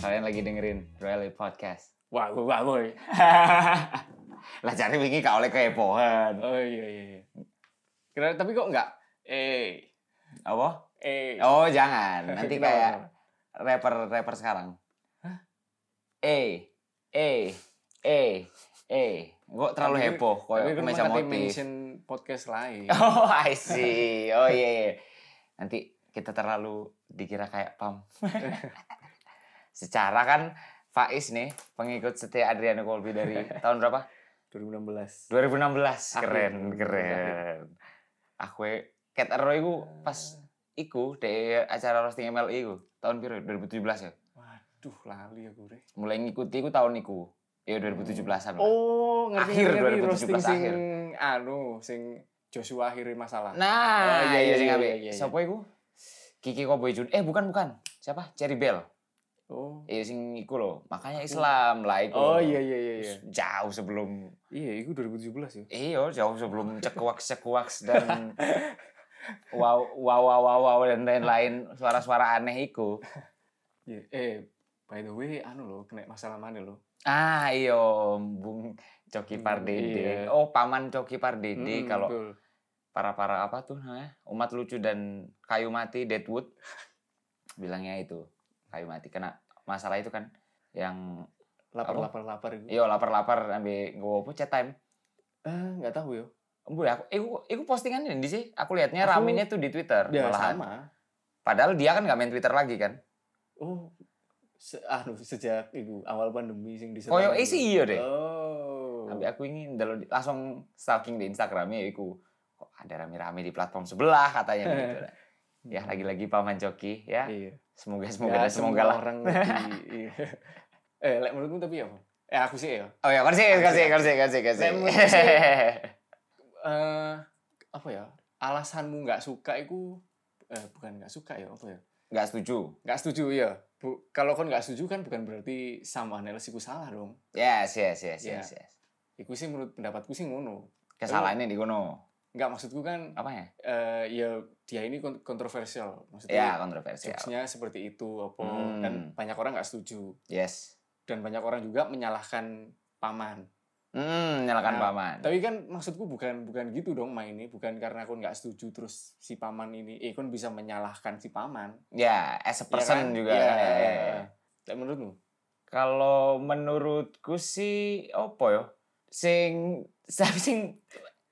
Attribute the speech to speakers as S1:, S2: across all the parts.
S1: lagi dengerin Rally Podcast.
S2: Wah, wah, wah, woi.
S1: Lah cari wingi kau oleh kepoan.
S2: oh iya iya. iya.
S1: Kira tapi kok enggak?
S2: Eh,
S1: Apa?
S2: eh.
S1: Oh, jangan. Nanti
S2: Kenapa,
S1: kayak
S2: kenapa?
S1: rapper-rapper sekarang. Eh, eh, eh, eh. Gue terlalu
S2: Tapi-
S1: heboh
S2: Tapi
S1: koyo
S2: kan
S1: meja
S2: makanya
S1: motif.
S2: mention podcast lain.
S1: Oh, I see. Oh iya. iya. Nanti kita terlalu dikira kayak pam. Secara kan Faiz nih pengikut setia Adriano Colby dari tahun berapa?
S2: 2016.
S1: 2016.
S2: Aku.
S1: Keren, keren. Aku e- Cat Arrow iku pas
S2: Eh.
S1: iku di acara roasting MLI iku tahun piro? 2017 ya.
S2: Waduh, lali aku deh.
S1: Mulai ngikuti iku tahun iku. Ya 2017-an. lah.
S2: Oh, ngerti
S1: Akhir
S2: ngerti
S1: 2017
S2: roasting sing
S1: akhir.
S2: anu, sing Joshua akhirnya masalah.
S1: Nah,
S2: Oh,
S1: iya,
S2: iya, iya,
S1: sing
S2: iya,
S1: apik.
S2: iya, iya.
S1: Siapa iku? Kiki Cowboy Jun. Eh, bukan bukan. Siapa? Cherry Bell.
S2: Oh.
S1: Iya sing iku loh, makanya Islam lah iku. loh.
S2: Oh iya iya iya iya.
S1: Jauh sebelum
S2: Iya, itu 2017 ya.
S1: iyo jauh sebelum cekuaks-cekuaks dan wow wow wow wow, wow, dan lain-lain suara-suara aneh iku.
S2: Iya. Eh, by the way, anu loh, kena masalah mana loh?
S1: Ah, iyo Bung Coki
S2: Hmm,
S1: Pardede.
S2: iya.
S1: Oh, paman Coki Pardede
S2: Mm,
S1: kalau
S2: betul.
S1: para-para apa tuh namanya? Umat lucu dan kayu mati Deadwood bilangnya itu. Kayu mati kena masalah itu kan yang apa? Iya.
S2: lapar-lapar-lapar itu.
S1: iyo lapar-lapar ambil gue apa chat time
S2: Ah, enggak tahu ya.
S1: Embu aku, iku, iku postingan ini sih. Aku liatnya
S2: Aku-
S1: raminya tuh di Twitter.
S2: Ya
S1: malahan.
S2: sama.
S1: Padahal dia kan nggak main Twitter lagi kan.
S2: Oh, se anu sejak itu awal pandemi sing diserang.
S1: Koyo eh
S2: itu.
S1: sih iya deh.
S2: Oh.
S1: Tapi aku ingin dalo- langsung stalking di Instagramnya. Iku kok ada rame-rame di platform sebelah katanya gitu. lah. ya lagi-lagi paman Joki ya.
S2: Iya.
S1: Semoga semoga
S2: Semoga
S1: dan semoga lah.
S2: orang lagi- iya. Eh, lek menurutmu tapi apa? Eh, aku sih ya.
S1: Oh ya kasih
S2: Asik,
S1: kasih
S2: asik.
S1: kasih kasih kasih.
S2: Saya menurut saya- Eh, apa ya? Alasanmu nggak suka itu eh bukan nggak suka ya, apa ya?
S1: Nggak setuju.
S2: Nggak setuju ya. Bu, kalau kon nggak setuju kan bukan berarti sama analisis ku salah dong.
S1: Yes yes yes
S2: Ya.
S1: yes. yes.
S2: Iku sih menurut pendapatku sih ngono.
S1: Kesalahannya di Gono.
S2: Nggak maksudku kan
S1: Apa ya?
S2: eh ya dia ini kon- kontroversial
S1: Ya
S2: maksudnya.
S1: kontroversial.
S2: jokesnya seperti itu apa
S1: Hmm.
S2: dan banyak orang nggak setuju
S1: Yes.
S2: dan banyak orang juga menyalahkan paman
S1: Hmm, nyalakan
S2: Nah,
S1: paman.
S2: tapi kan maksudku bukan bukan gitu dong mainnya bukan karena kon nggak setuju terus si paman ini eh kon bisa menyalahkan si paman
S1: Ya, as a
S2: Ya
S1: person
S2: kan?
S1: juga
S2: Iya,
S1: kan. ya,
S2: iya,
S1: ya, ya.
S2: iya. Lah, menurutmu
S1: Kalau menurutku sih opo yo? Sing tapi sing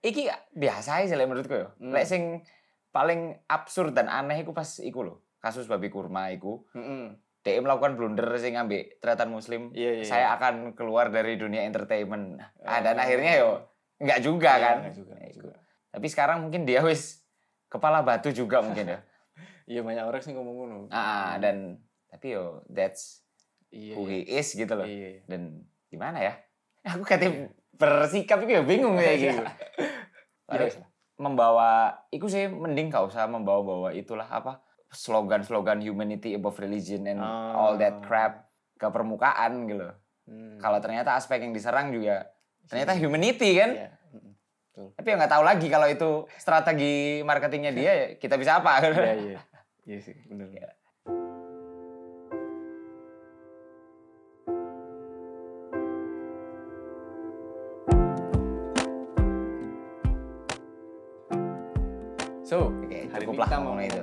S1: iki biasa aja lek menurutku yo.
S2: Hmm.
S1: Lek sing paling absurd dan aneh iku pas iku loh. Kasus babi kurma iku.
S2: Mm-mm.
S1: DM melakukan blunder sing ambek tretan muslim.
S2: Iya, iya,
S1: Saya
S2: iya.
S1: akan keluar dari dunia entertainment. Ah, dan
S2: Eh,
S1: akhirnya yo enggak juga
S2: iya,
S1: kan.
S2: nggak juga, nggak juga.
S1: Tapi sekarang mungkin dia wis kepala batu juga mungkin ya.
S2: iya banyak orang sih ngomong ngono
S1: Ah, ah, dan tapi yo that's
S2: iya
S1: who
S2: iya,
S1: he is gitu loh.
S2: iya, iya.
S1: dan gimana ya aku katanya bersikap itu ya bingung kayak gitu Padahal
S2: Iya.
S1: membawa itu sih mending gak usah membawa-bawa itulah apa slogan-slogan humanity above religion and
S2: Ah.
S1: all that crap ke permukaan gitu
S2: Hmm.
S1: kalau ternyata aspek yang diserang juga ternyata humanity kan
S2: Iya. Mm-mm.
S1: tapi ya nggak tahu lagi kalau itu strategi marketingnya dia ya kita bisa apa
S2: iya iya iya sih benar
S1: Iya.
S2: so
S1: Oke,
S2: hari ini
S1: cukup lah
S2: kita mau
S1: ngomong itu.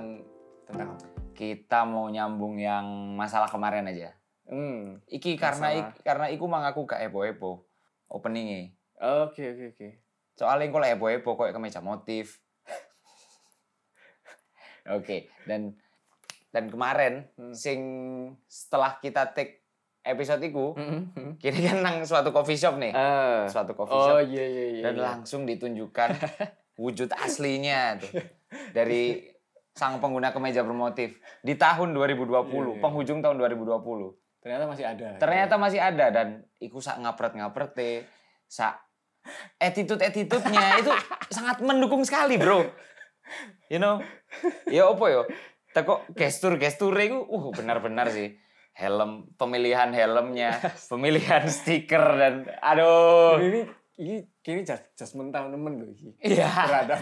S2: tentang apa?
S1: kita mau nyambung yang masalah kemarin aja
S2: hmm
S1: iki karena
S2: Masalah.
S1: ik- karena iku mengaku gak heboh-heboh openingnya
S2: oke oke oke
S1: soalnya kalau heboh-heboh kok ke meja motif oke dan dan kemarin
S2: Hmm.
S1: sing setelah kita take episode iku
S2: Mm-mm.
S1: kini kan nang suatu coffee shop nih
S2: Hmm. Ah.
S1: suatu coffee
S2: oh
S1: shop
S2: iya iya iya
S1: dan
S2: iya.
S1: langsung ditunjukkan wujud aslinya tuh dari sang pengguna kemeja bermotif di tahun 2020
S2: Iya, iya.
S1: penghujung tahun 2020
S2: ternyata masih ada
S1: ternyata masih ada dan iku sak ngapret ngaprete sak attitude attitude-nya itu sangat mendukung sekali bro you know ya opo yo teko gestur gesture iku uh benar-benar sih helm pemilihan helmnya pemilihan stiker dan
S2: Gitu.
S1: aduh
S2: ini ini kini jas- jasmen tahun temen loh ini
S1: iya
S2: terhadap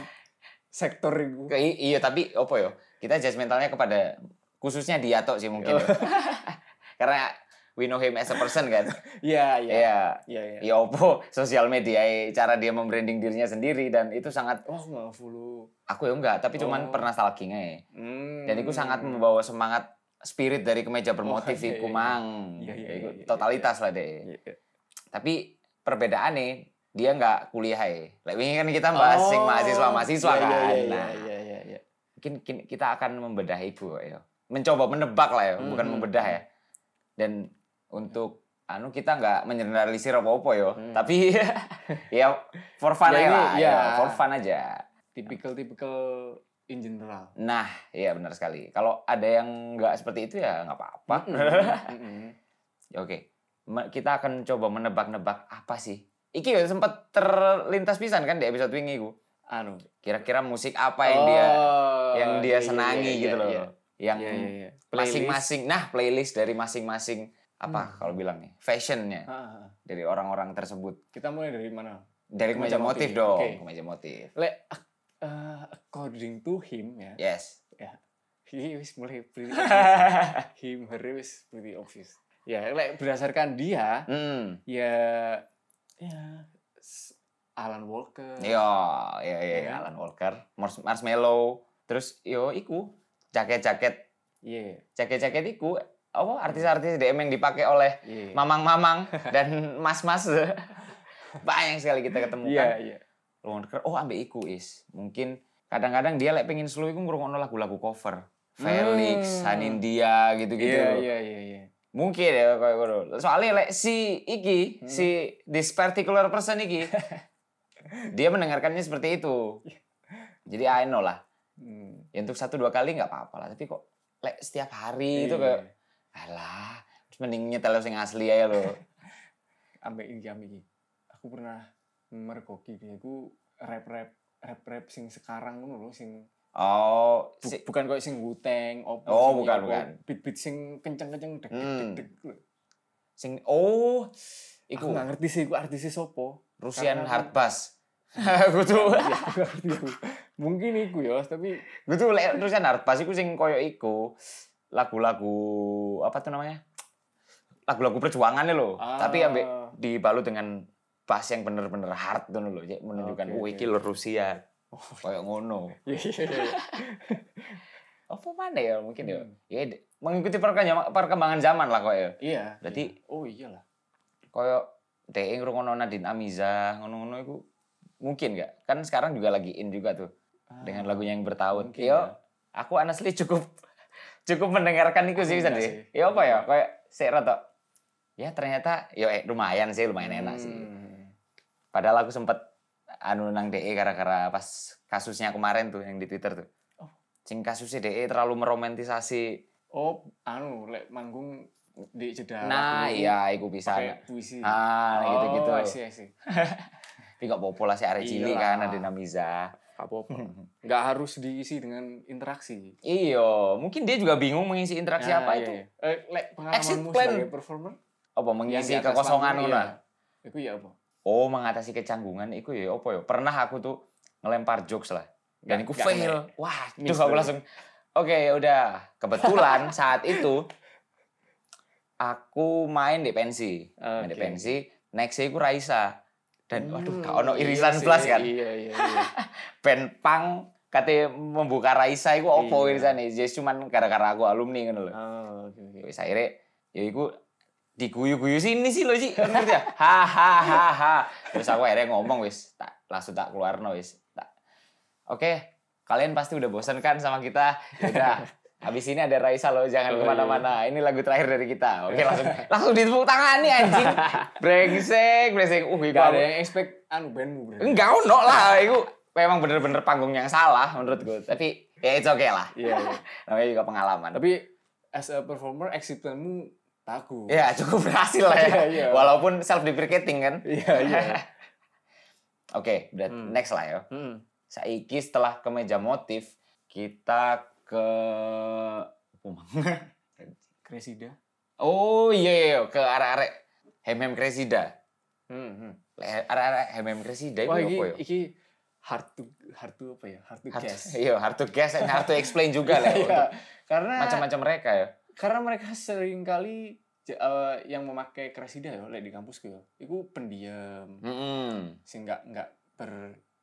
S2: sektor itu
S1: Ke- i- iya tapi opo
S2: Oh.
S1: yo kita judgmentalnya kepada khususnya dia tok sih mungkin ya. karena we know him as a person kan.
S2: Iya, iya.
S1: Iya.
S2: Iya, iya.
S1: Ya opo sosial media eh, cara dia membranding dirinya sendiri dan itu sangat
S2: Oh, aku nggak follow.
S1: aku ya enggak tapi cuman
S2: Oh.
S1: pernah stalking aja.
S2: Hmm.
S1: Dan itu sangat membawa semangat spirit dari kemeja bermotif
S2: iya, iya,
S1: iku
S2: iya.
S1: mang.
S2: Iya, iya,
S1: Iku
S2: iya, iya,
S1: totalitas lah deh.
S2: Iya, iya.
S1: Tapi perbedaan nih dia nggak kuliah ya. Lah ini kan kita bahas sing
S2: Oh,
S1: mahasiswa-mahasiswa
S2: iya,
S1: kan.
S2: Iya, iya,
S1: Nah,
S2: iya, iya, iya.
S1: mungkin kin- kita akan membedah ibu ya. Mencoba menebak lah ya, bukan
S2: Mhm.
S1: membedah ya. Dan untuk anu kita nggak mengeneralisir apa-apa yo,
S2: Hmm.
S1: tapi ya for fun
S2: Ya,
S1: aja
S2: ini,
S1: lah, ya.
S2: ya.
S1: for fun aja.
S2: Tipikal-tipikal in general.
S1: Nah, iya benar sekali. Kalau ada yang nggak seperti itu ya nggak apa-apa.
S2: Mm-mm, mm-mm.
S1: Ya, Oke, Me- kita akan coba menebak-nebak apa sih? Iki ya sempat terlintas pisan kan di episode wingi ku.
S2: Anu.
S1: Kira-kira musik apa yang dia
S2: Oh,
S1: yang
S2: iya,
S1: dia
S2: iya,
S1: senangi
S2: iya,
S1: gitu loh.
S2: iya.
S1: Yang
S2: Iya, iya, iya.
S1: masing-masing nah playlist dari masing-masing apa
S2: Hmm.
S1: kalau bilang nih fashionnya
S2: Playlist. Ah, ah, ah.
S1: dari orang-orang tersebut
S2: Kita mulai dari mana?
S1: dari kemeja
S2: Kemeja
S1: motif,
S2: motif,
S1: dong
S2: oke.
S1: kemeja motif
S2: Le, ac- uh, according to him ya,
S1: yes
S2: he wis mulai pretty him her wis pretty obvious. Ya, le, berdasarkan dia,
S1: hmm
S2: ya, ya, s- Alan Walker.
S1: yo yo yo, yo,
S2: Iya.
S1: iya, Alan Walker Mars Marshmallow terus yo iku jaket-jaket
S2: Iya,
S1: jaket-jaket iku apa artis-artis DM yang dipakai oleh
S2: iya.
S1: mamang-mamang dan mas-mas banyak sekali kita ketemukan
S2: Iya, iya.
S1: Lone Walker, oh ambek iku is. Mungkin kadang-kadang dia lek pengen slow iku ngrungokno lagu-lagu cover. Felix,
S2: Hmm.
S1: Hanindia gitu-gitu.
S2: Iya, iya, iya, iya.
S1: Mungkin ya kayak ngono. Soalnya lek si iki,
S2: Hmm.
S1: si this particular person iki dia mendengarkannya seperti itu. Jadi I know lah.
S2: Hmm.
S1: Ya untuk satu dua kali nggak apa-apa lah, tapi kok lek setiap hari itu
S2: Iya.
S1: kayak alah, terus mending nyetel sing asli aja lo.
S2: ambek iki ambek iki. Aku pernah mergoki dia aku rap-rap rap-rap sing sekarang ngono lho sing
S1: Oh,
S2: bu-
S1: si,
S2: bukan kok sing Wu-Tang opo
S1: Oh,
S2: sing
S1: bukan,
S2: opo,
S1: bukan.
S2: beat-beat sing kenceng-kenceng deg deg
S1: Hmm.
S2: deg deg lho.
S1: sing oh
S2: Aku
S1: iku
S2: gak ngerti sih iku artisnya sopo.
S1: Rusian
S2: Karena-
S1: hard bass. Aku tuh
S2: Iya, aku gak ngerti aku. Mungkin iku ya, tapi
S1: gue tuh lek terus kan Arpas iku sing koyo iku lagu-lagu apa tuh namanya lagu-lagu perjuangannya loh tapi ambek
S2: Ah,
S1: dibalut dengan bass yang bener-bener hard tuh loh jadi menunjukkan
S2: Oke,
S1: oh
S2: oke. Oh,
S1: iki lho Rusia koyo ngono
S2: iya iya iya.
S1: apa mana ya mungkin ya
S2: Hmm.
S1: ya de- mengikuti perkembangan perkembangan zaman lah koyo
S2: Iya.
S1: Berarti-
S2: iya. oh iyalah.
S1: koyo dhek ngrungokno Nadine Amiza ngono-ngono iku mungkin nggak kan sekarang juga lagi in juga tuh
S2: Ah,
S1: dengan lagunya yang bertahun
S2: mungkin
S1: yo
S2: ya.
S1: aku honestly cukup cukup mendengarkan itu sih
S2: Aku enggak
S1: tadi.
S2: sih.
S1: Ya apa ya kayak sik rada ya ternyata yo eh, lumayan sih lumayan enak sih.
S2: Hmm.
S1: Padahal aku sempet anu nang DE gara-gara pas kasusnya kemarin tuh yang di Twitter tuh.
S2: Oh.
S1: Sing kasusnya DE terlalu meromantisasi.
S2: Oh, anu lek manggung di jeda
S1: Nah,
S2: waktu
S1: iya iku bisa.
S2: Ya, pakai puisi.
S1: Ah, gitu-gitu.
S2: Oh, I see, Iya. I see.
S1: Tapi kok popo lah si arek cilik
S2: Iyalah.
S1: kan ada Namiza.
S2: Gak apa-apa.
S1: Hmm.
S2: Gak harus diisi dengan interaksi.
S1: Iyo, Iya, mungkin dia juga bingung mengisi interaksi
S2: Nah,
S1: apa
S2: iya,
S1: itu.
S2: iya. Eh, lek
S1: Exit
S2: pengalamanmu
S1: plan.
S2: sebagai performer?
S1: Apa
S2: yang
S1: mengisi
S2: di atas
S1: kekosongan
S2: panggung,
S1: ngono.
S2: iya. Iku ya apa?
S1: Oh, mengatasi kecanggungan iku ya apa ya? Pernah aku tuh ngelempar jokes lah. Dan
S2: Nggak-
S1: aku
S2: nggak
S1: fail. Wah,
S2: Miss
S1: terus aku
S2: berarti.
S1: langsung oke, udah. Kebetulan saat itu aku main di pensi. Main di
S2: Oke.
S1: pensi, next aku Raisa. Dan waduh,
S2: Hmm,
S1: gak ono
S2: iya
S1: irisan
S2: sih,
S1: blas kan.
S2: Iya, iya, iya.
S1: Band punk katanya membuka Raisa iku opo
S2: Iya.
S1: irisane? Jadi cuman gara-gara aku alumni ngono lho.
S2: Oh, oke, oke.
S1: Wis akhirnya ya iku diguyu-guyu sini sih lo sih ngerti ya hahaha terus aku akhirnya ngomong wis tak langsung tak keluar wis tak oke kalian pasti udah bosan kan sama kita udah habis ini ada Raisa lo jangan
S2: Oh, Iya.
S1: kemana-mana ini lagu terakhir dari kita oke langsung langsung ditepuk tangan nih anjing brengsek brengsek uh iku
S2: Gak ada
S1: aku-
S2: yang expect anu bandmu berarti.
S1: enggak ono lah itu memang bener-bener panggung yang salah menurut gue tapi ya it's okay lah
S2: Iya, iya.
S1: namanya juga pengalaman
S2: Tapi as a performer exit planmu bagus.
S1: Ya cukup berhasil lah ya.
S2: Iya, iya.
S1: Walaupun self deprecating kan.
S2: Iya, iya.
S1: Oke, berarti
S2: Hmm.
S1: next lah ya.
S2: Heeh.
S1: Saiki setelah ke meja motif, kita ke
S2: Cresida.
S1: Oh iya iya iya, ke arah-arah Hemhem Kresida.
S2: Heeh.
S1: Le- Arah-arah Hemhem Kresida itu
S2: Wah, iki
S1: Hmm, apa ya?
S2: iki hard to hard to apa ya? Hard to
S1: Hard-
S2: guess.
S1: Iya, hard to guess and hard to explain juga lah. ya,
S2: Iya,
S1: untuk
S2: Karena
S1: Macam-macam mereka ya.
S2: karena mereka sering kali j- eh, yang memakai kresida yo lek di kampusku yo. Iku pendiam,
S1: Mm-mm.
S2: sing nggak nggak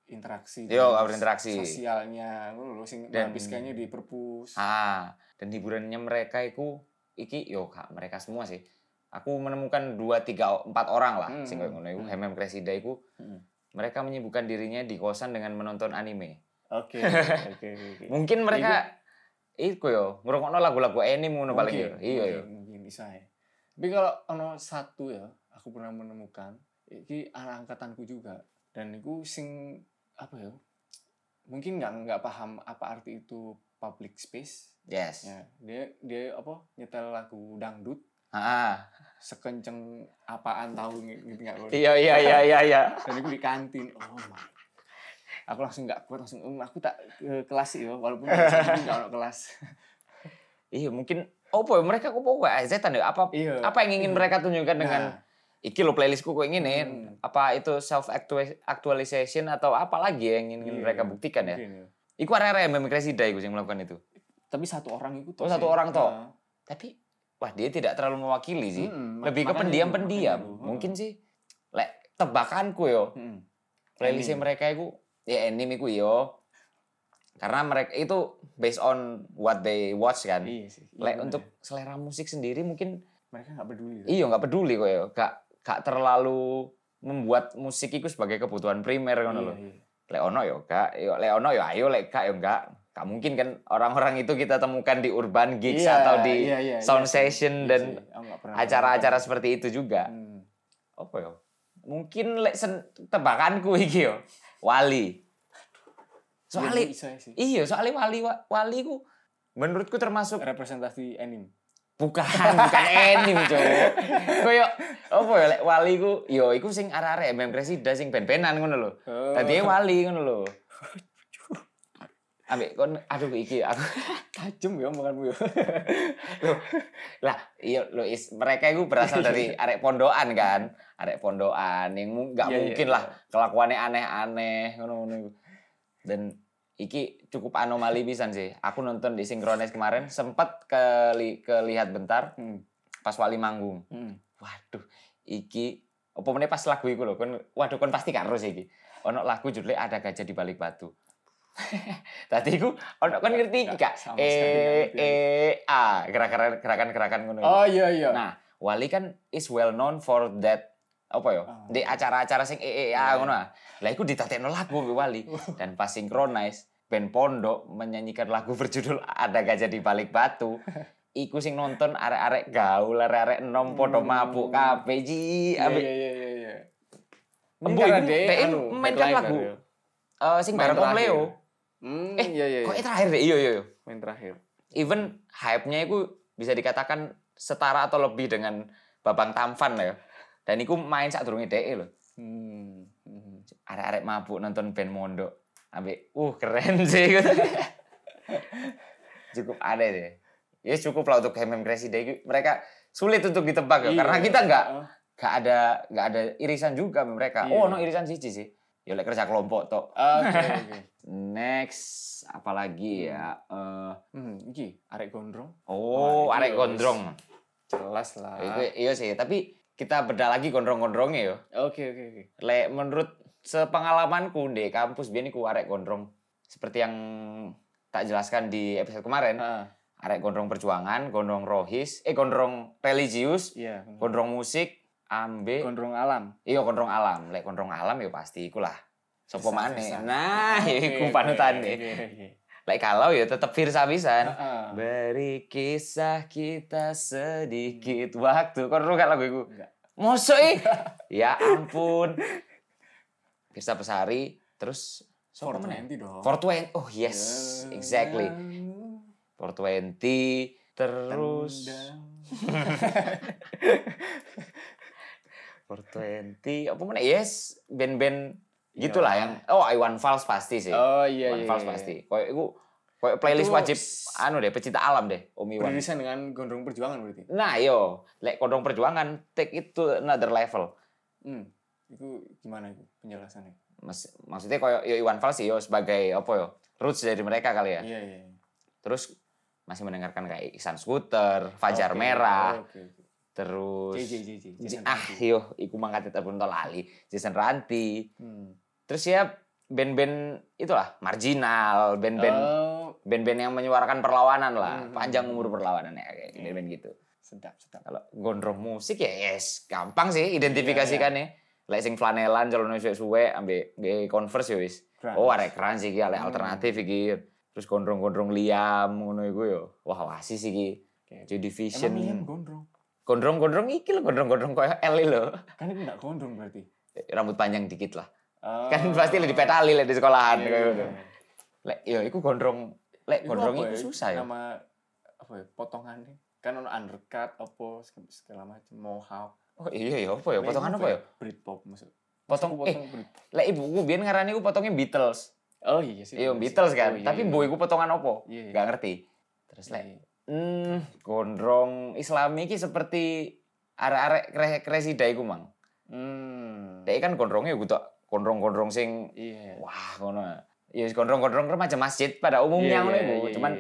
S2: berinteraksi.
S1: Yo,
S2: dengan
S1: nggak berinteraksi.
S2: Sosialnya, ngono lho sing
S1: Dan-
S2: menghabiskannya di perpus.
S1: Ah, dan hiburannya mereka itu iki yo kak mereka semua sih. Aku menemukan dua tiga empat orang lah
S2: Hmm,
S1: sing koyo ngono iku
S2: hmm.
S1: Hemem Kresida iku.
S2: Hmm.
S1: Mereka menyibukkan dirinya di kosan dengan menonton anime.
S2: Oke, oke, oke.
S1: Mungkin mereka iku yo ngrungokno lagu-lagu anime
S2: Oh,
S1: ngono paling yo.
S2: Mungkin,
S1: Iya yo.
S2: mungkin, mungkin bisa ya tapi kalau ono satu ya aku pernah menemukan iki anak angkatanku juga dan itu sing apa ya mungkin nggak nggak paham apa arti itu public space
S1: Yes.
S2: ya dia dia apa nyetel lagu dangdut
S1: Heeh.
S2: sekenceng apaan tahu nge- ngerti nggak lo
S1: Iya iya iya iya iya.
S2: dan aku di kantin oh my aku langsung nggak kuat langsung "Em, aku tak ke kelas ya walaupun nggak ono kelas
S1: Iya mungkin opo yo mereka kok pokoke azetan yo apa
S2: iya
S1: apa yang ingin
S2: Iya.
S1: mereka tunjukkan Kan dengan ya?
S2: Nah.
S1: iki lo playlistku kok ingin nih
S2: Hmm.
S1: apa itu self actualization atau apa lagi yang ingin
S2: Iya,
S1: mereka
S2: iya.
S1: buktikan ya
S2: Mungkin,
S1: iku area yang memikresida iku yang melakukan itu
S2: tapi satu orang itu
S1: Oh, satu orang toh. tapi wah dia tidak terlalu mewakili sih
S2: Hmm,
S1: lebih ke pendiam-pendiam mungkin sih lek tebakanku yo playlistnya
S2: Anime.
S1: mereka itu ya anime iku yo karena mereka itu based on what they watch kan
S2: iya sih iya
S1: lek
S2: bener.
S1: untuk selera musik sendiri mungkin
S2: mereka nggak peduli kan?
S1: Iya nggak peduli kok ya, gak gak terlalu membuat musik itu sebagai kebutuhan primer
S2: Iya,
S1: ngono lho.
S2: iya.
S1: Lek ono yo gak, yo lek ono yo ayo lek gak yo gak. Gak mungkin kan orang-orang itu kita temukan di urban gigs
S2: Iya,
S1: atau di
S2: iya, iya,
S1: sound
S2: iya sih.
S1: session
S2: Iya
S1: dan
S2: sih. Aku nggak pernah
S1: acara-acara Mm.
S2: nonton.
S1: seperti itu juga.
S2: Hmm.
S1: Apa yo? Mungkin lek sen- tebakanku iki yo. Wali.
S2: Iya,
S1: Soalnya
S2: bisa sih
S1: iya, soalnya wali wa- wali ku menurutku termasuk
S2: representasi anime
S1: Bukan, bukan anime, cowok. Koyo opo ya lek wali ku yo iku sing arek-arek MM Kresida sing ben-benan ngono lho.
S2: Oh.
S1: Tadi wali ngono lho. Ambek kon aduh iki aku
S2: tajam ya makanmu ya
S1: lah iya lho is mereka iku berasal dari arek pondokan kan. Arek pondokan yang mu- nggak
S2: Iya, iya,
S1: mungkin
S2: iya.
S1: lah kelakuannya aneh-aneh ngono-ngono iku. Dan iki cukup anomali pisan sih. Aku nonton di Synchronize kemarin sempat keli kelihat bentar
S2: Hmm,
S1: pas wali manggung.
S2: hmm.
S1: waduh iki apa meneh pas lagu iku lho kon waduh kon pasti karo sih iki ono lagu judulnya ada gajah di balik batu tadi iku ono kon ngerti iki
S2: Nggak,
S1: kak
S2: sama sekali nggak
S1: e
S2: ngerti
S1: e a gerakan gerakan gerakan ngono
S2: oh iya iya
S1: nah Wali kan is well known for that apa yo
S2: Ah.
S1: di acara-acara sing e e a
S2: Iya.
S1: ngono ah. lah iku ditatekno lagu mbek Wali dan pas synchronize band pondok menyanyikan lagu berjudul ada gajah di balik batu iku sing nonton arek-arek gaul arek-arek enom podo
S2: Hmm.
S1: mabuk kabeh ji
S2: iya
S1: ambek
S2: iya iya iya, iya
S1: Embo
S2: Ini karena
S1: iku
S2: dia,
S1: dia
S2: anu,
S1: mainkan
S2: headliner
S1: lagu
S2: ya.
S1: eh, sing
S2: Main
S1: bareng Om
S2: terakhir.
S1: Leo
S2: Hmm,
S1: Eh,
S2: iya, iya,
S1: kok
S2: iya.
S1: ini terakhir deh iya iya iya.
S2: main terakhir
S1: even hype-nya iku bisa dikatakan setara atau lebih dengan Babang Tamfan lah ya dan iku main saat durunge dhek e lho
S2: Hmm, hmm.
S1: arek-arek mabuk nonton band mondok ambek uh keren sih gitu. cukup ada deh ya cukup lah untuk MM Crazy Day Ki- mereka sulit untuk ditebak ya
S2: Iya,
S1: karena kita nggak
S2: heeh.
S1: nggak ada nggak ada irisan juga sama mereka
S2: Iya.
S1: oh no irisan siji sih ya oleh kerja kelompok tok
S2: Ah, oke oke next
S1: next apalagi ya eh,
S2: hmm, iki arek gondrong
S1: oh
S2: Wah,
S1: arek
S2: itu
S1: gondrong
S2: jelas lah
S1: Iku- iya sih tapi kita beda lagi gondrong-gondrongnya ya. yo
S2: Oke oke oke.
S1: Lek menurut sepengalamanku di kampus biyen iku arek gondrong seperti yang tak jelaskan di episode kemarin,
S2: Ah,
S1: arek gondrong perjuangan, gondrong rohis, eh gondrong religius,
S2: iya. Gondrong,
S1: gondrong musik, ambe,
S2: alam.
S1: iya gondrong alam. Lek gondrong alam ya pasti iku lah. Sopo
S2: Firsa,
S1: maneh.
S2: Firsa.
S1: Nah, ya iku
S2: Oke,
S1: panutane.
S2: oke, oke, oke. Ah,
S1: Lek kalau ya tetep Firsa pisan.
S2: Heeh.
S1: Beri kisah kita sedikit waktu. Kau tau gak lagu itu?
S2: Hmm. Enggak.
S1: Mosok ih? ya ampun. Pirsa Besari, terus
S2: Sopo
S1: siapa meneh?
S2: nanti dong.
S1: 420. Oh yes,
S2: Ya.
S1: exactly. 420 terus for 420 apa mana yes band-band gitulah yang oh Iwan Fals pasti sih
S2: Iya. Oh iya
S1: Iwan
S2: iya.
S1: Fals
S2: iya.
S1: pasti koyo iku koyo playlist
S2: Itu
S1: wajib anu deh pecinta alam deh Om Iwan
S2: Beririsan dengan gondrong perjuangan berarti.
S1: Nah, yo, lek kodong perjuangan take it to another level.
S2: Hmm. Itu gimana itu penjelasannya?
S1: Mas, maksudnya koyo yo Iwan Fals sih, yo sebagai apa yo roots dari mereka kali ya.
S2: Iya iya.
S1: Terus masih mendengarkan kayak Iksan Scooter, Fajar
S2: Oke,
S1: Merah,
S2: Oke oke.
S1: terus
S2: JJ JJ Jason
S1: ah
S2: Ranti.
S1: yo iku mangkat tetep pun lali Jason Ranti
S2: Hmm.
S1: terus ya band-band itulah marginal band-band
S2: Oh,
S1: band-band yang menyuarakan perlawanan lah
S2: Hmm.
S1: panjang umur perlawanan ya kayak band-band gitu
S2: sedap sedap
S1: kalau gondrong musik ya yes gampang sih identifikasikannya
S2: Iya,
S1: Lek sing flanelan celana suwe-suwe ambek ambek converse ya wis.
S2: Keren.
S1: Oh arek keren sih iki arek
S2: Hmm.
S1: alternatif iki. Terus gondrong-gondrong liam ngono iku yo. Wah wasis iki.
S2: Oke.
S1: Joy
S2: Emang Liam
S1: Division.
S2: gondrong?
S1: Gondrong-gondrong iki lho gondrong-gondrong koyo L lho. Eh,
S2: Kan itu enggak gondrong berarti.
S1: Rambut panjang dikit lah.
S2: Oh.
S1: Kan pasti lek dipetali lek di sekolahan
S2: Iya,
S1: koyo
S2: iya,
S1: ngono.
S2: iya.
S1: Lek yo iku gondrong lek
S2: Itu
S1: gondrong
S2: apa
S1: iku susah ya.
S2: Nama apa ya? Potongannya. Kan ono undercut apa seg- segala macam mohawk. Nah,
S1: Oh iya ya apa ya? Potongan apa ya?
S2: Britpop maksud.
S1: Potong- eh,
S2: Maksudku potong Brit-
S1: Lek ibuku biyen ngarani iku potongnya Beatles.
S2: Oh iya sih.
S1: Iya
S2: bener sih.
S1: Beatles
S2: Oh,
S1: kan.
S2: iya,
S1: Tapi
S2: iya.
S1: boy iku potongan opo?
S2: Iya, iya.
S1: Gak ngerti. Terus
S2: Iya,
S1: lek
S2: iya.
S1: Hmm, gondrong Islami iki seperti arek-arek kre- kresi dae ku mang.
S2: Hmm.
S1: Dae kan gondrongnya gue gondrong-gondrong sing
S2: Iya.
S1: wah ngono. Ya wis gondrong-gondrong remaja masjid pada
S2: iya,
S1: umumnya ngono iku, Iya, cuman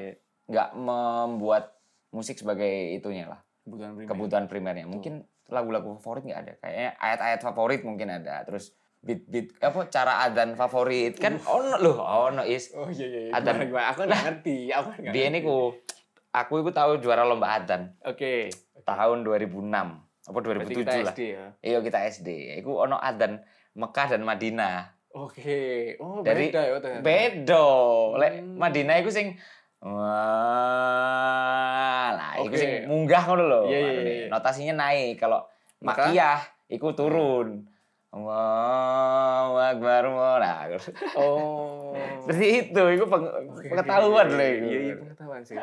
S1: nggak membuat musik sebagai itunya lah,
S2: kebutuhan primer.
S1: kebutuhan primernya. Mungkin lagu-lagu favorit nggak ada, kayaknya ayat-ayat favorit mungkin ada. Terus beat-beat apa cara adzan favorit kan ono loh, ono is.
S2: Oh iya iya. iya.
S1: Ada-
S2: Gimana, gimana? Aku nggak ngerti. Aku nggak.
S1: Biyen
S2: ngerti.
S1: iku aku iku tahu juara lomba adzan
S2: Oke.
S1: tahun 2006 apa
S2: Berarti kita
S1: 2007 lah.
S2: SD ya.
S1: Iya kita SD. Iku ono adan Mekah dan Madinah.
S2: Oke. Oh
S1: Dari-
S2: beda ya ternyata.
S1: Bedo. Lek
S2: Hmm.
S1: Madinah iku sing Wah, lah iku
S2: Oke.
S1: sing munggah ngono lho.
S2: Iya, iya,
S1: Manune.
S2: iya.
S1: Notasinya naik kalau
S2: Mekah? Hmm.
S1: makiyah iku turun. Allahu akbar. Allahu akbar.
S2: Oh.
S1: Seperti itu, iku peng-
S2: Oke,
S1: pengetahuan
S2: oke,
S1: lho
S2: oke.
S1: iku.
S2: Iya iya pengetahuan sih.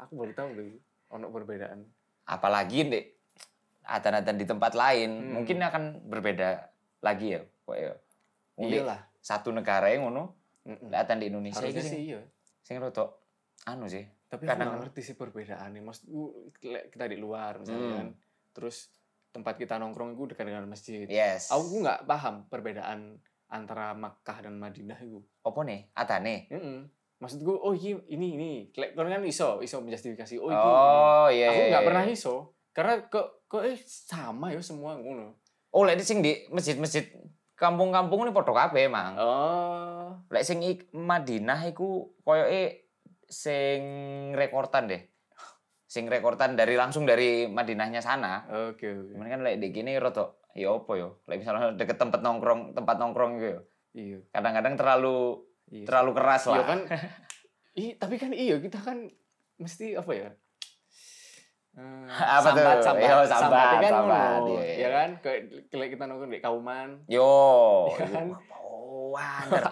S2: Aku baru tahu loh. Ono perbedaan.
S1: Apalagi nih adan-adan di tempat lain
S2: Hmm.
S1: mungkin akan berbeda lagi ya. Pokoknya. Mungkin
S2: Iya lah.
S1: satu negara yang ngono
S2: Mm-mm.
S1: kelihatan di Iya. Indonesia
S2: Harusnya
S1: iki
S2: sih
S1: sing
S2: iya.
S1: sing rodok anu sih.
S2: Tapi aku
S1: Kadang-
S2: nggak ngerti sih perbedaannya. Maksudku le- kita di luar misalnya
S1: Hmm.
S2: kan. Terus tempat kita nongkrong itu dekat dengan masjid.
S1: Yes.
S2: Aku nggak paham perbedaan antara Makkah dan Madinah itu.
S1: opo nih? Atane.
S2: Mm-mm. Maksudku, oh iki, ini ini, Lek, kon kan iso, iso menjustifikasi. Oh, iki,
S1: Oh, iya.
S2: ini. aku
S1: iya,
S2: nggak
S1: iya.
S2: pernah iso, karena kok kok eh sama ya semua ngono.
S1: Oh, lek sing di masjid-masjid kampung-kampung ini podo kabeh, Mang.
S2: Oh,
S1: Lek sing ik- Madinah iku koyoke sing rekortan deh. Sing rekortan dari langsung dari Madinahnya sana.
S2: oke oke.
S1: Cuman kan lek di kene rodok ya opo yo. Lek misalnya deket tempat nongkrong, tempat nongkrong gitu.
S2: Iya,
S1: Kadang-kadang terlalu
S2: iya.
S1: terlalu keras
S2: Iya
S1: lah.
S2: kan. I, tapi kan iya kita kan mesti apa ya? Eh,
S1: Apa tuh?
S2: sambat, sambat,
S1: Yo,
S2: sambat,
S1: sambat,
S2: kan
S1: sambat,
S2: ngono,
S1: iya, iya.
S2: ya kan? Kayak kayak kita nongkrong di Kauman,
S1: Yo,
S2: Iya kan?
S1: iku apaan, Ter?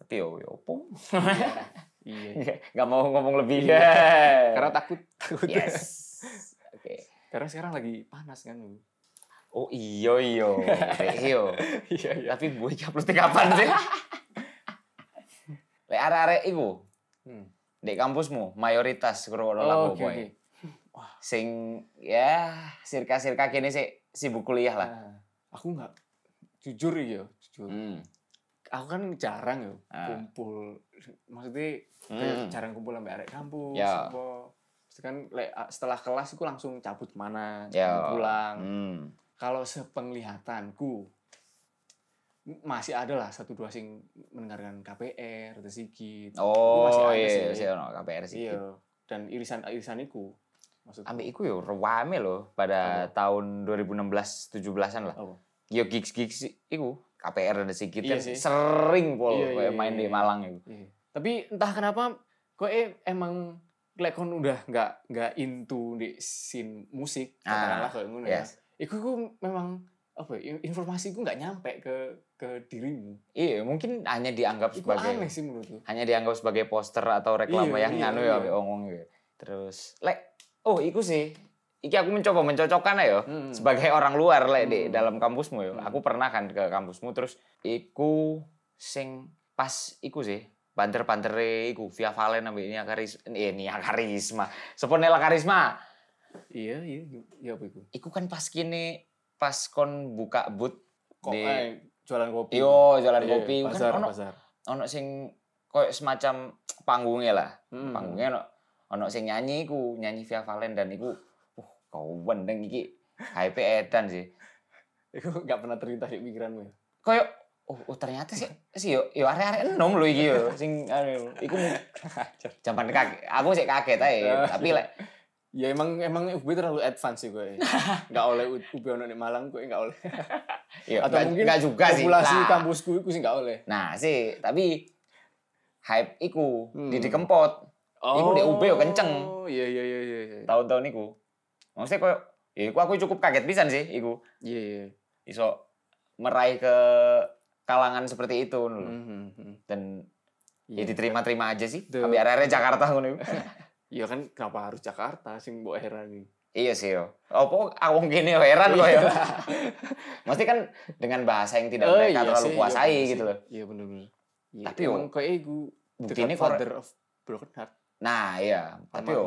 S1: Tapi yo yo opo?
S2: iya, iya.
S1: Gak mau ngomong lebih.
S2: Iya.
S1: Yeah.
S2: Karena takut, takut.
S1: yes. Oke.
S2: Karena sekarang lagi panas kan. Bu.
S1: Oh iyo iyo. Dek, iyo.
S2: Iya, iya.
S1: Tapi gue iki upload kapan sih? Lek arek-arek iku
S2: Hmm.
S1: di kampusmu mayoritas guru lagu
S2: Oh, oke, oke.
S1: boy. Sing ya sirka-sirka kene sih sibuk kuliah lah.
S2: Nah, aku nggak jujur ya, jujur.
S1: Hmm.
S2: Aku kan jarang ya
S1: Ah.
S2: kumpul. Maksudnya kayak
S1: Hmm.
S2: jarang kumpul sampai arek kampus.
S1: Ya.
S2: apa. Terus kan lek- setelah kelas aku langsung cabut kemana, cabut
S1: Ya.
S2: pulang.
S1: Hmm.
S2: Kalau sepenglihatanku m- masih ada lah satu dua sing mendengarkan KPR, atau Sigit. Itu masih
S1: Oh
S2: ada sih.
S1: iya, sih ono KPR sih.
S2: Iya. Dan irisan irisaniku. Maksudku.
S1: Ambek iku yo rewame lho pada tahun 2016 17-an lah.
S2: Apa?
S1: Yo gigs-gigs iku KPR dan sikit
S2: Iya
S1: kan
S2: sih.
S1: sering pol
S2: Iya,
S1: kayak
S2: iya,
S1: main
S2: iya,
S1: di
S2: iya.
S1: Malang iku.
S2: Iya. Tapi entah kenapa kowe emang lek kon udah nggak nggak into di scene musik
S1: Ah,
S2: katakanlah kayak ngono ya.
S1: Yes.
S2: Iku ku memang apa ya, in- informasi ku nggak nyampe ke ke dirimu.
S1: Iya, mungkin hanya dianggap
S2: Iku
S1: sebagai
S2: aneh sih menurutku.
S1: hanya dianggak sebagai poster atau reklame
S2: Iya,
S1: yang
S2: iya,
S1: nganu
S2: iya.
S1: ya ambek ongong gitu. Terus lek oh iku sih. Iki aku mencoba mencocokkan ya
S2: Hmm.
S1: sebagai orang luar lek di
S2: Hmm.
S1: dalam kampusmu ya.
S2: Hmm.
S1: Aku pernah kan ke kampusmu terus iku sing pas iku sih banter-bantere iku Via Valen ambek ini Karisma. Eh, Nia Karisma. Seponela Karisma.
S2: Iya, iya, iya apa iku?
S1: Iku kan pas kini pas kon buka booth
S2: Kok
S1: di
S2: eh, jualan kopi.
S1: yo jalan
S2: Iya,
S1: kopi kan
S2: pasar,
S1: ono
S2: pasar.
S1: ono sing koyo semacam panggungnya lah
S2: Hmm.
S1: panggungnya ono ono sing nyanyi iku nyanyi Via Valen dan iku uh Kau wendeng iki hype edan sih.
S2: Iku gak pernah terlintas di pikiranmu ya.
S1: Kayak oh, oh ternyata sih sih yo yo arek-arek enom lho iki yo sing anu iku mu- jaman kaget. Aku sih kaget ae,
S2: Ah.
S1: tapi lek
S2: ya emang emang UB terlalu advance sih gue. Gak oleh UB ono di Malang gue gak oleh.
S1: yo
S2: Atau
S1: nggak-
S2: mungkin
S1: nggak juga sih.
S2: Populasi
S1: Lah.
S2: kampusku iku sih gak oleh.
S1: Nah, sih, tapi hype iku
S2: Hmm.
S1: di dikempot Iku di UB yo kenceng.
S2: Oh, Iya iya iya iya. iya.
S1: tahun-tahun iku. Maksudnya koyo ya iku aku cukup kaget pisan sih iku.
S2: Iya iya.
S1: Iso meraih ke kalangan seperti itu lho.
S2: Mhm, mhm.
S1: Dan ya
S2: Iya.
S1: diterima-terima aja sih.
S2: Duh.
S1: Tapi arek-arek Jakarta ngono iku.
S2: Iya kan kenapa harus Jakarta sing mbok heran iki.
S1: Iya sih yo. Apa awong gini yo heran kok
S2: Iya.
S1: yo. Mesti kan dengan bahasa yang tidak
S2: Oh,
S1: mereka
S2: iya
S1: terlalu
S2: sih, iya
S1: kuasai
S2: bener
S1: gitu
S2: sih.
S1: loh.
S2: Iya bener bener. Iya,
S1: Tapi
S2: emang kayak iku the
S1: Buktinya kok
S2: father of broken heart.
S1: Nah, iya. Tapi yo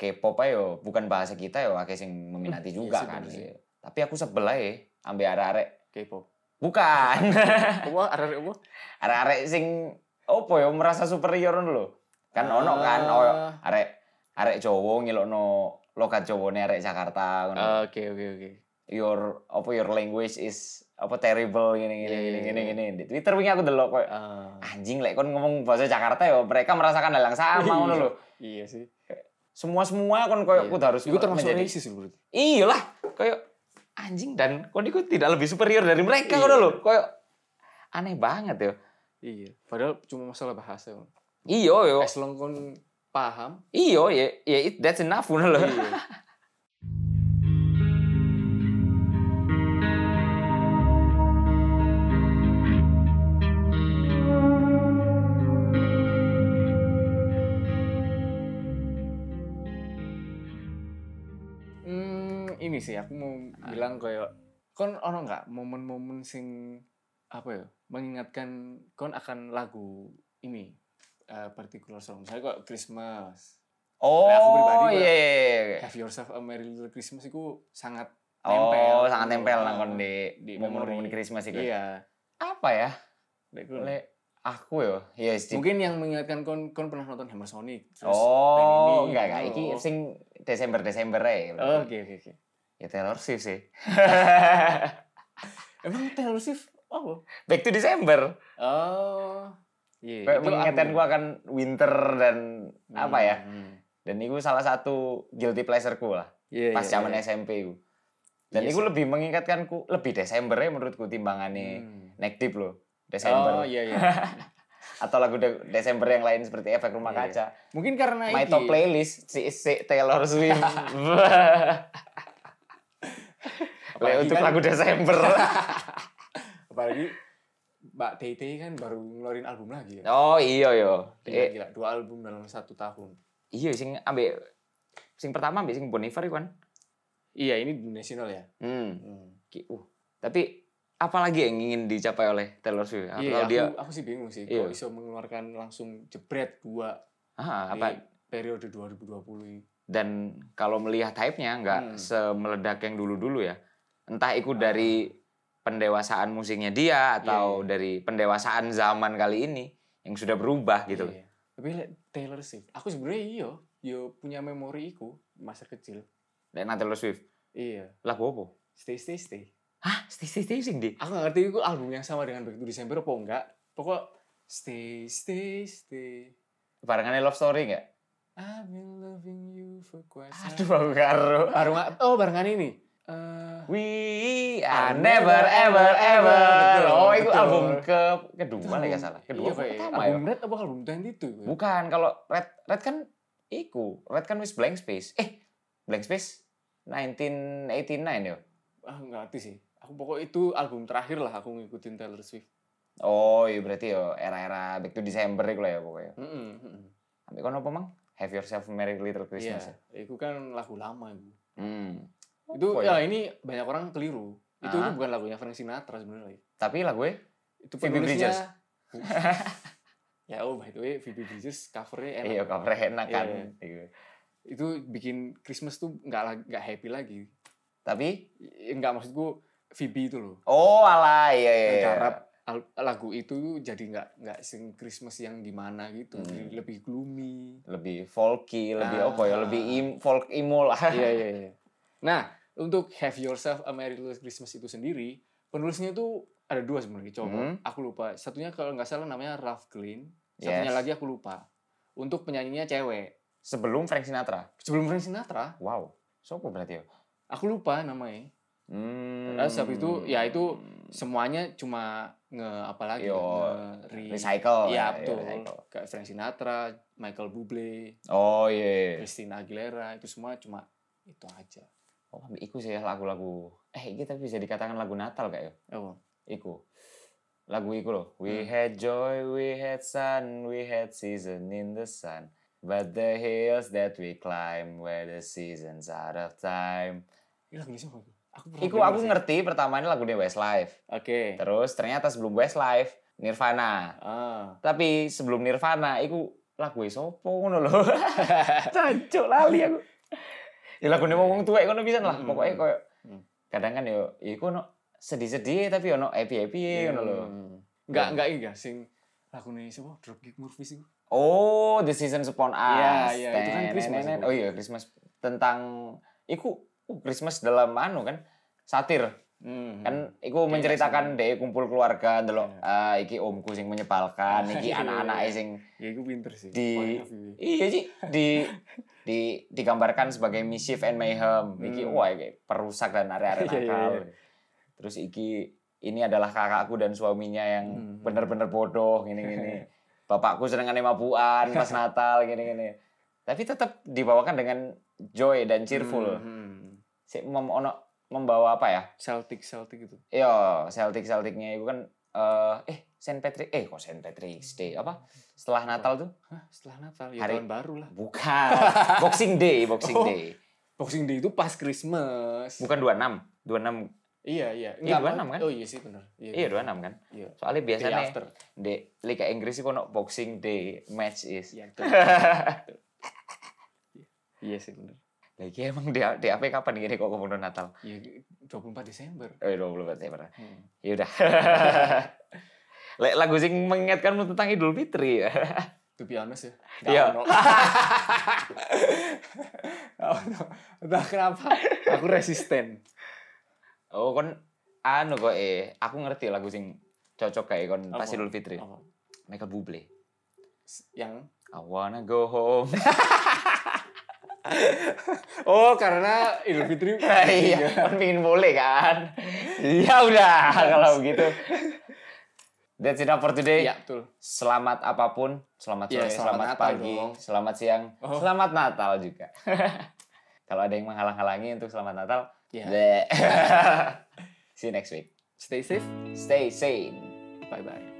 S1: K-pop ae yo bukan bahasa kita yo akeh sing meminati
S2: Iya
S1: juga
S2: sih,
S1: kan.
S2: bener sih.
S1: Iya. Tapi aku sebel ae ambe arek-arek.
S2: K-pop.
S1: Bukan.
S2: Apa arek apa?
S1: arek-arek sing opo yo merasa superior ngono lho. Kan ono kan
S2: Ah,
S1: oh, arek arek Jawa ngilokno logat Jawane arek Jakarta ngono.
S2: Ah, Oke oke oke.
S1: your apa your language is apa terrible gini gini gini
S2: Iya, iya,
S1: gini
S2: iya.
S1: gini. Di Twitter wingi aku delok koyo
S2: Ah,
S1: anjing lek kon ngomong bahasa Jakarta yo mereka merasakan hal yang sama ngono
S2: Iya.
S1: lho.
S2: Iya sih.
S1: Semua-semua kon koyo
S2: Iya.
S1: kudu harus
S2: Iku termasuk
S1: menjadi-
S2: racist loh berarti.
S1: Iyalah, koyo anjing dan kon iku tidak lebih superior dari mereka
S2: Iya.
S1: ngono lho. Koyo aneh banget ya. yo.
S2: Iya. Padahal cuma masalah bahasa. Bang.
S1: Iya yo.
S2: As long kon paham.
S1: Iya, ya, ya it- that's enough ngono lho.
S2: iya. Hmm, ini sih aku mau
S1: Ah.
S2: bilang kayak kon ono nggak momen-momen sing apa ya mengingatkan kon akan lagu ini eh particular song misalnya kok Christmas
S1: Oh,
S2: Lah, aku pribadi
S1: iya,
S2: malah-
S1: iya, iya.
S2: Have Yourself a Merry Little Christmas itu sangat Nempel.
S1: Oh, sangat tempel nang kon di,
S2: Di
S1: momen-momen
S2: memori.
S1: Christmas itu.
S2: iya.
S1: Apa ya?
S2: Lek ku-
S1: Le, aku yo. Iya, yes,
S2: Mungkin yang mengingatkan kon kon pernah nonton Hammer Sonic. terus
S1: Oh,
S2: band ini,
S1: enggak enggak iki
S2: oh.
S1: sing Desember-Desember ae.
S2: Oh, Oke oke oke.
S1: Ya Taylor Swift sih.
S2: Emang Taylor Swift apa?
S1: Back to December.
S2: Oh. Iya.
S1: Kayak
S2: itu
S1: mengingatkan
S2: aku-
S1: gua akan winter dan
S2: Hmm,
S1: apa ya?
S2: hmm.
S1: Dan itu salah satu guilty pleasureku lah.
S2: Iya,
S1: Pas
S2: iya,
S1: zaman
S2: iya.
S1: SMP ku. Dan
S2: Iya
S1: itu
S2: sih.
S1: lebih mengingatkanku lebih Desember ya menurutku timbangane
S2: Hmm.
S1: Neck Deep loh.
S2: Oh
S1: Desember
S2: iya iya.
S1: atau lagu De- Desember yang lain seperti Efek Rumah
S2: Iya.
S1: Kaca.
S2: Mungkin karena
S1: My
S2: iki.
S1: top playlist si, si Taylor Swift. Le,
S2: Apalagi
S1: untuk
S2: kan-
S1: lagu Desember.
S2: Apalagi Mbak TT kan baru ngeluarin album lagi ya.
S1: oh iya iya.
S2: Gila,
S1: Eh,
S2: gila. Dua album dalam satu tahun.
S1: iya sing ambek sing pertama ambek sing Bon Iver iku kan.
S2: Iya, ini di nasional ya.
S1: Hmm.
S2: Hmm.
S1: ki- uh. Tapi apalagi yang ingin dicapai oleh Taylor Swift? Atau
S2: Iya,
S1: Nah, kalau
S2: aku,
S1: dia
S2: aku sih bingung sih
S1: Iya.
S2: kok bisa mengeluarkan langsung jebret dua
S1: Ah,
S2: di
S1: apa
S2: periode 2020 ini.
S1: dan kalau melihat hype-nya nggak
S2: Hmm. Ah.
S1: semeledak yang dulu-dulu ya. Entah itu dari pendewasaan musiknya dia atau
S2: iya.
S1: dari pendewasaan zaman kali ini yang sudah berubah gitu.
S2: Iya. Tapi like, Taylor Swift, aku sebenarnya iya, yo punya memori iku masa kecil.
S1: Dan Taylor Swift,
S2: Iya.
S1: lagu apa?
S2: Stay stay stay.
S1: Hah, stay stay stay sing di.
S2: Aku gak ngerti itu album yang sama dengan Begitu Desember apa enggak. Pokok stay stay stay.
S1: Barengannya love story nggak?
S2: I've been loving you for quite some
S1: Aduh, aku karo.
S2: Bareng oh barengan ini. Eh,
S1: We are never ever ever.
S2: Betul,
S1: oh, itu
S2: betul.
S1: album ke kedua lah
S2: album-
S1: nggak salah. Kedua
S2: iya,
S1: apa
S2: kayak
S1: pertama ya.
S2: album Red apa album Twenty itu?
S1: Bukan, kalau Red Red kan iku, Red kan wis blank space. Eh, blank space ya? 1989 yo.
S2: ah nggak ngerti sih aku pokok itu album terakhir lah aku ngikutin Taylor Swift
S1: Oh, iya berarti yo era-era back to December iku lah ya pokoknya.
S2: Heeh.
S1: Ambil kono apa, Mang? Have yourself a merry little
S2: iya
S1: Christmas. ya?
S2: itu kan lagu lama itu
S1: Hmm.
S2: itu
S1: Apa ya?
S2: ya ini banyak orang keliru itu,
S1: Ah.
S2: itu bukan lagunya Frank Sinatra sebenarnya
S1: Tapi lagu e? gue
S2: itu
S1: Phoebe Bridgers.
S2: penulisnya ya oh by the way Phoebe Bridgers covernya enak
S1: iya covernya enak kan.
S2: Iya.
S1: Iya.
S2: itu bikin Christmas tuh nggak la- nggak happy lagi
S1: Tapi
S2: I- nggak maksudku Phoebe itu loh
S1: oh alah iya iya. iya.
S2: berharap al- lagu itu jadi nggak nggak sing Christmas yang gimana gitu
S1: Hmm.
S2: jadi lebih gloomy
S1: lebih folky, lebih
S2: Ah.
S1: apa ya, lebih im, folk emo lah.
S2: iya iya iya Nah, untuk Have Yourself a Merry Little Christmas itu sendiri, penulisnya itu ada dua sebenarnya, coba.
S1: Hmm.
S2: Aku lupa. Satunya kalau nggak salah namanya Ralph Klein. Satunya
S1: Yes.
S2: lagi aku lupa. Untuk penyanyinya cewek.
S1: Sebelum Frank Sinatra.
S2: Sebelum Frank Sinatra,
S1: Wow. Sopo berarti ya?
S2: aku lupa namanya.
S1: Hmm.
S2: Terus habis itu, ya itu Semuanya cuma nge apa lagi?
S1: Yo,
S2: nge-re-
S1: recycle.
S2: Iya
S1: ya,
S2: betul.
S1: recycle.
S2: Kayak Frank Sinatra, Michael Bublé,
S1: Oh iya.
S2: Christina Aguilera itu semua cuma itu aja.
S1: Oh, ambil iku sih ya lagu-lagu. Eh, iki tapi bisa dikatakan lagu Natal kayak ya.
S2: Oh,
S1: Iku. Lagu iku loh. We had joy, we had sun, we had season in the sun. But the hills that we climb where the seasons out of time.
S2: ini lagu Indonesia apa? Aku pernah
S1: Iku
S2: denger
S1: aku
S2: sih.
S1: ngerti pertamanya lagunya Westlife.
S2: Oke.
S1: Terus ternyata sebelum Westlife Nirvana.
S2: Ah.
S1: Tapi sebelum Nirvana iku lagu sopo ngono lho. Cancuk lali aku. Ya lagune wong wong tuwek ngono pisan lah
S2: Mm,
S1: pokoke
S2: mm,
S1: koyo
S2: mm.
S1: kadang kan yo iku ono sedih-sedih tapi ono
S2: Iya.
S1: happy-happy ngono lho.
S2: Enggak
S1: Iya.
S2: enggak ini enggak sing lagu Indonesia apa? Dropkick Murphys itu.
S1: Oh, The Seasons Upon Us.
S2: Iya, iya, itu kan Christmas,
S1: Tenenenet.
S2: Bu.
S1: Oh iya, Christmas tentang iku uh, Christmas dalam anu kan satir
S2: Hmm.
S1: kan iku menceritakan deh kumpul keluarga ndelok
S2: Iya.
S1: ah, iki omku sing menyebalkan iki
S2: Iya,
S1: anak-anaknya
S2: iya.
S1: sing
S2: ya itu pinter sih.
S1: Di-
S2: point of view.
S1: Iya sih di di digambarkan sebagai mischief and mayhem. Iki
S2: Hmm.
S1: wah iki perusak dan area-area
S2: Iya, iya,
S1: nakal.
S2: iya.
S1: Terus iki ini adalah kakakku dan suaminya yang
S2: Hmm.
S1: bener-bener bodoh gini-gini. Bapakku sedang mabuan pas Natal gini-gini. Tapi tetap dibawakan dengan joy dan cheerful.
S2: Hmm.
S1: Si mem- ono- membawa apa ya?
S2: Celtic Celtic itu.
S1: Yo, Celtic Celticnya itu kan eh eh Saint Patrick eh kok Saint Patrick's Day apa? Setelah Natal tuh?
S2: Hah, setelah Natal ya
S1: Hari-
S2: tahun baru lah.
S1: Bukan. Boxing Day, Boxing
S2: Oh.
S1: Day.
S2: Boxing Day itu pas Christmas.
S1: Bukan 26. 26.
S2: Iya, iya.
S1: Iya,
S2: Enggak,
S1: 26 kan?
S2: Oh iya sih benar.
S1: Iya 26 kan.
S2: Iya.
S1: Soalnya
S2: Day
S1: biasanya
S2: after.
S1: di Liga Inggris itu ono Boxing Day match is.
S2: Iya, betul. Betul. Iya sih benar.
S1: Lagi emang di, di apa kapan gini kok kemudian Natal?
S2: Iya, 24 Desember.
S1: Eh 24 Desember.
S2: Hmm.
S1: Ya udah. Lek lagu sing mengingatkanmu tentang Idul Fitri ya.
S2: To be honest ya.
S1: Iya.
S2: Nggak ono. Nggak ono. Entah kenapa aku resisten.
S1: Oh kon anu kok eh aku ngerti lagu sing cocok kayak kon pas
S2: Apa?
S1: Idul Fitri.
S2: Apa?
S1: Michael Bublé.
S2: S- Yang
S1: I wanna go home.
S2: Oh, karena Idul Fitri.
S1: iya, kan pingin boleh kan? ya udah kalau begitu. That's enough for today.
S2: Iya, betul.
S1: Selamat apapun, selamat sore,
S2: Iya,
S1: selamat,
S2: selamat Natal
S1: pagi,
S2: dong.
S1: selamat siang,
S2: Oh.
S1: selamat Natal juga. kalau ada yang menghalang-halangi untuk selamat Natal,
S2: Iya.
S1: bleh. see you next week.
S2: Stay safe.
S1: Stay sane.
S2: Bye-bye.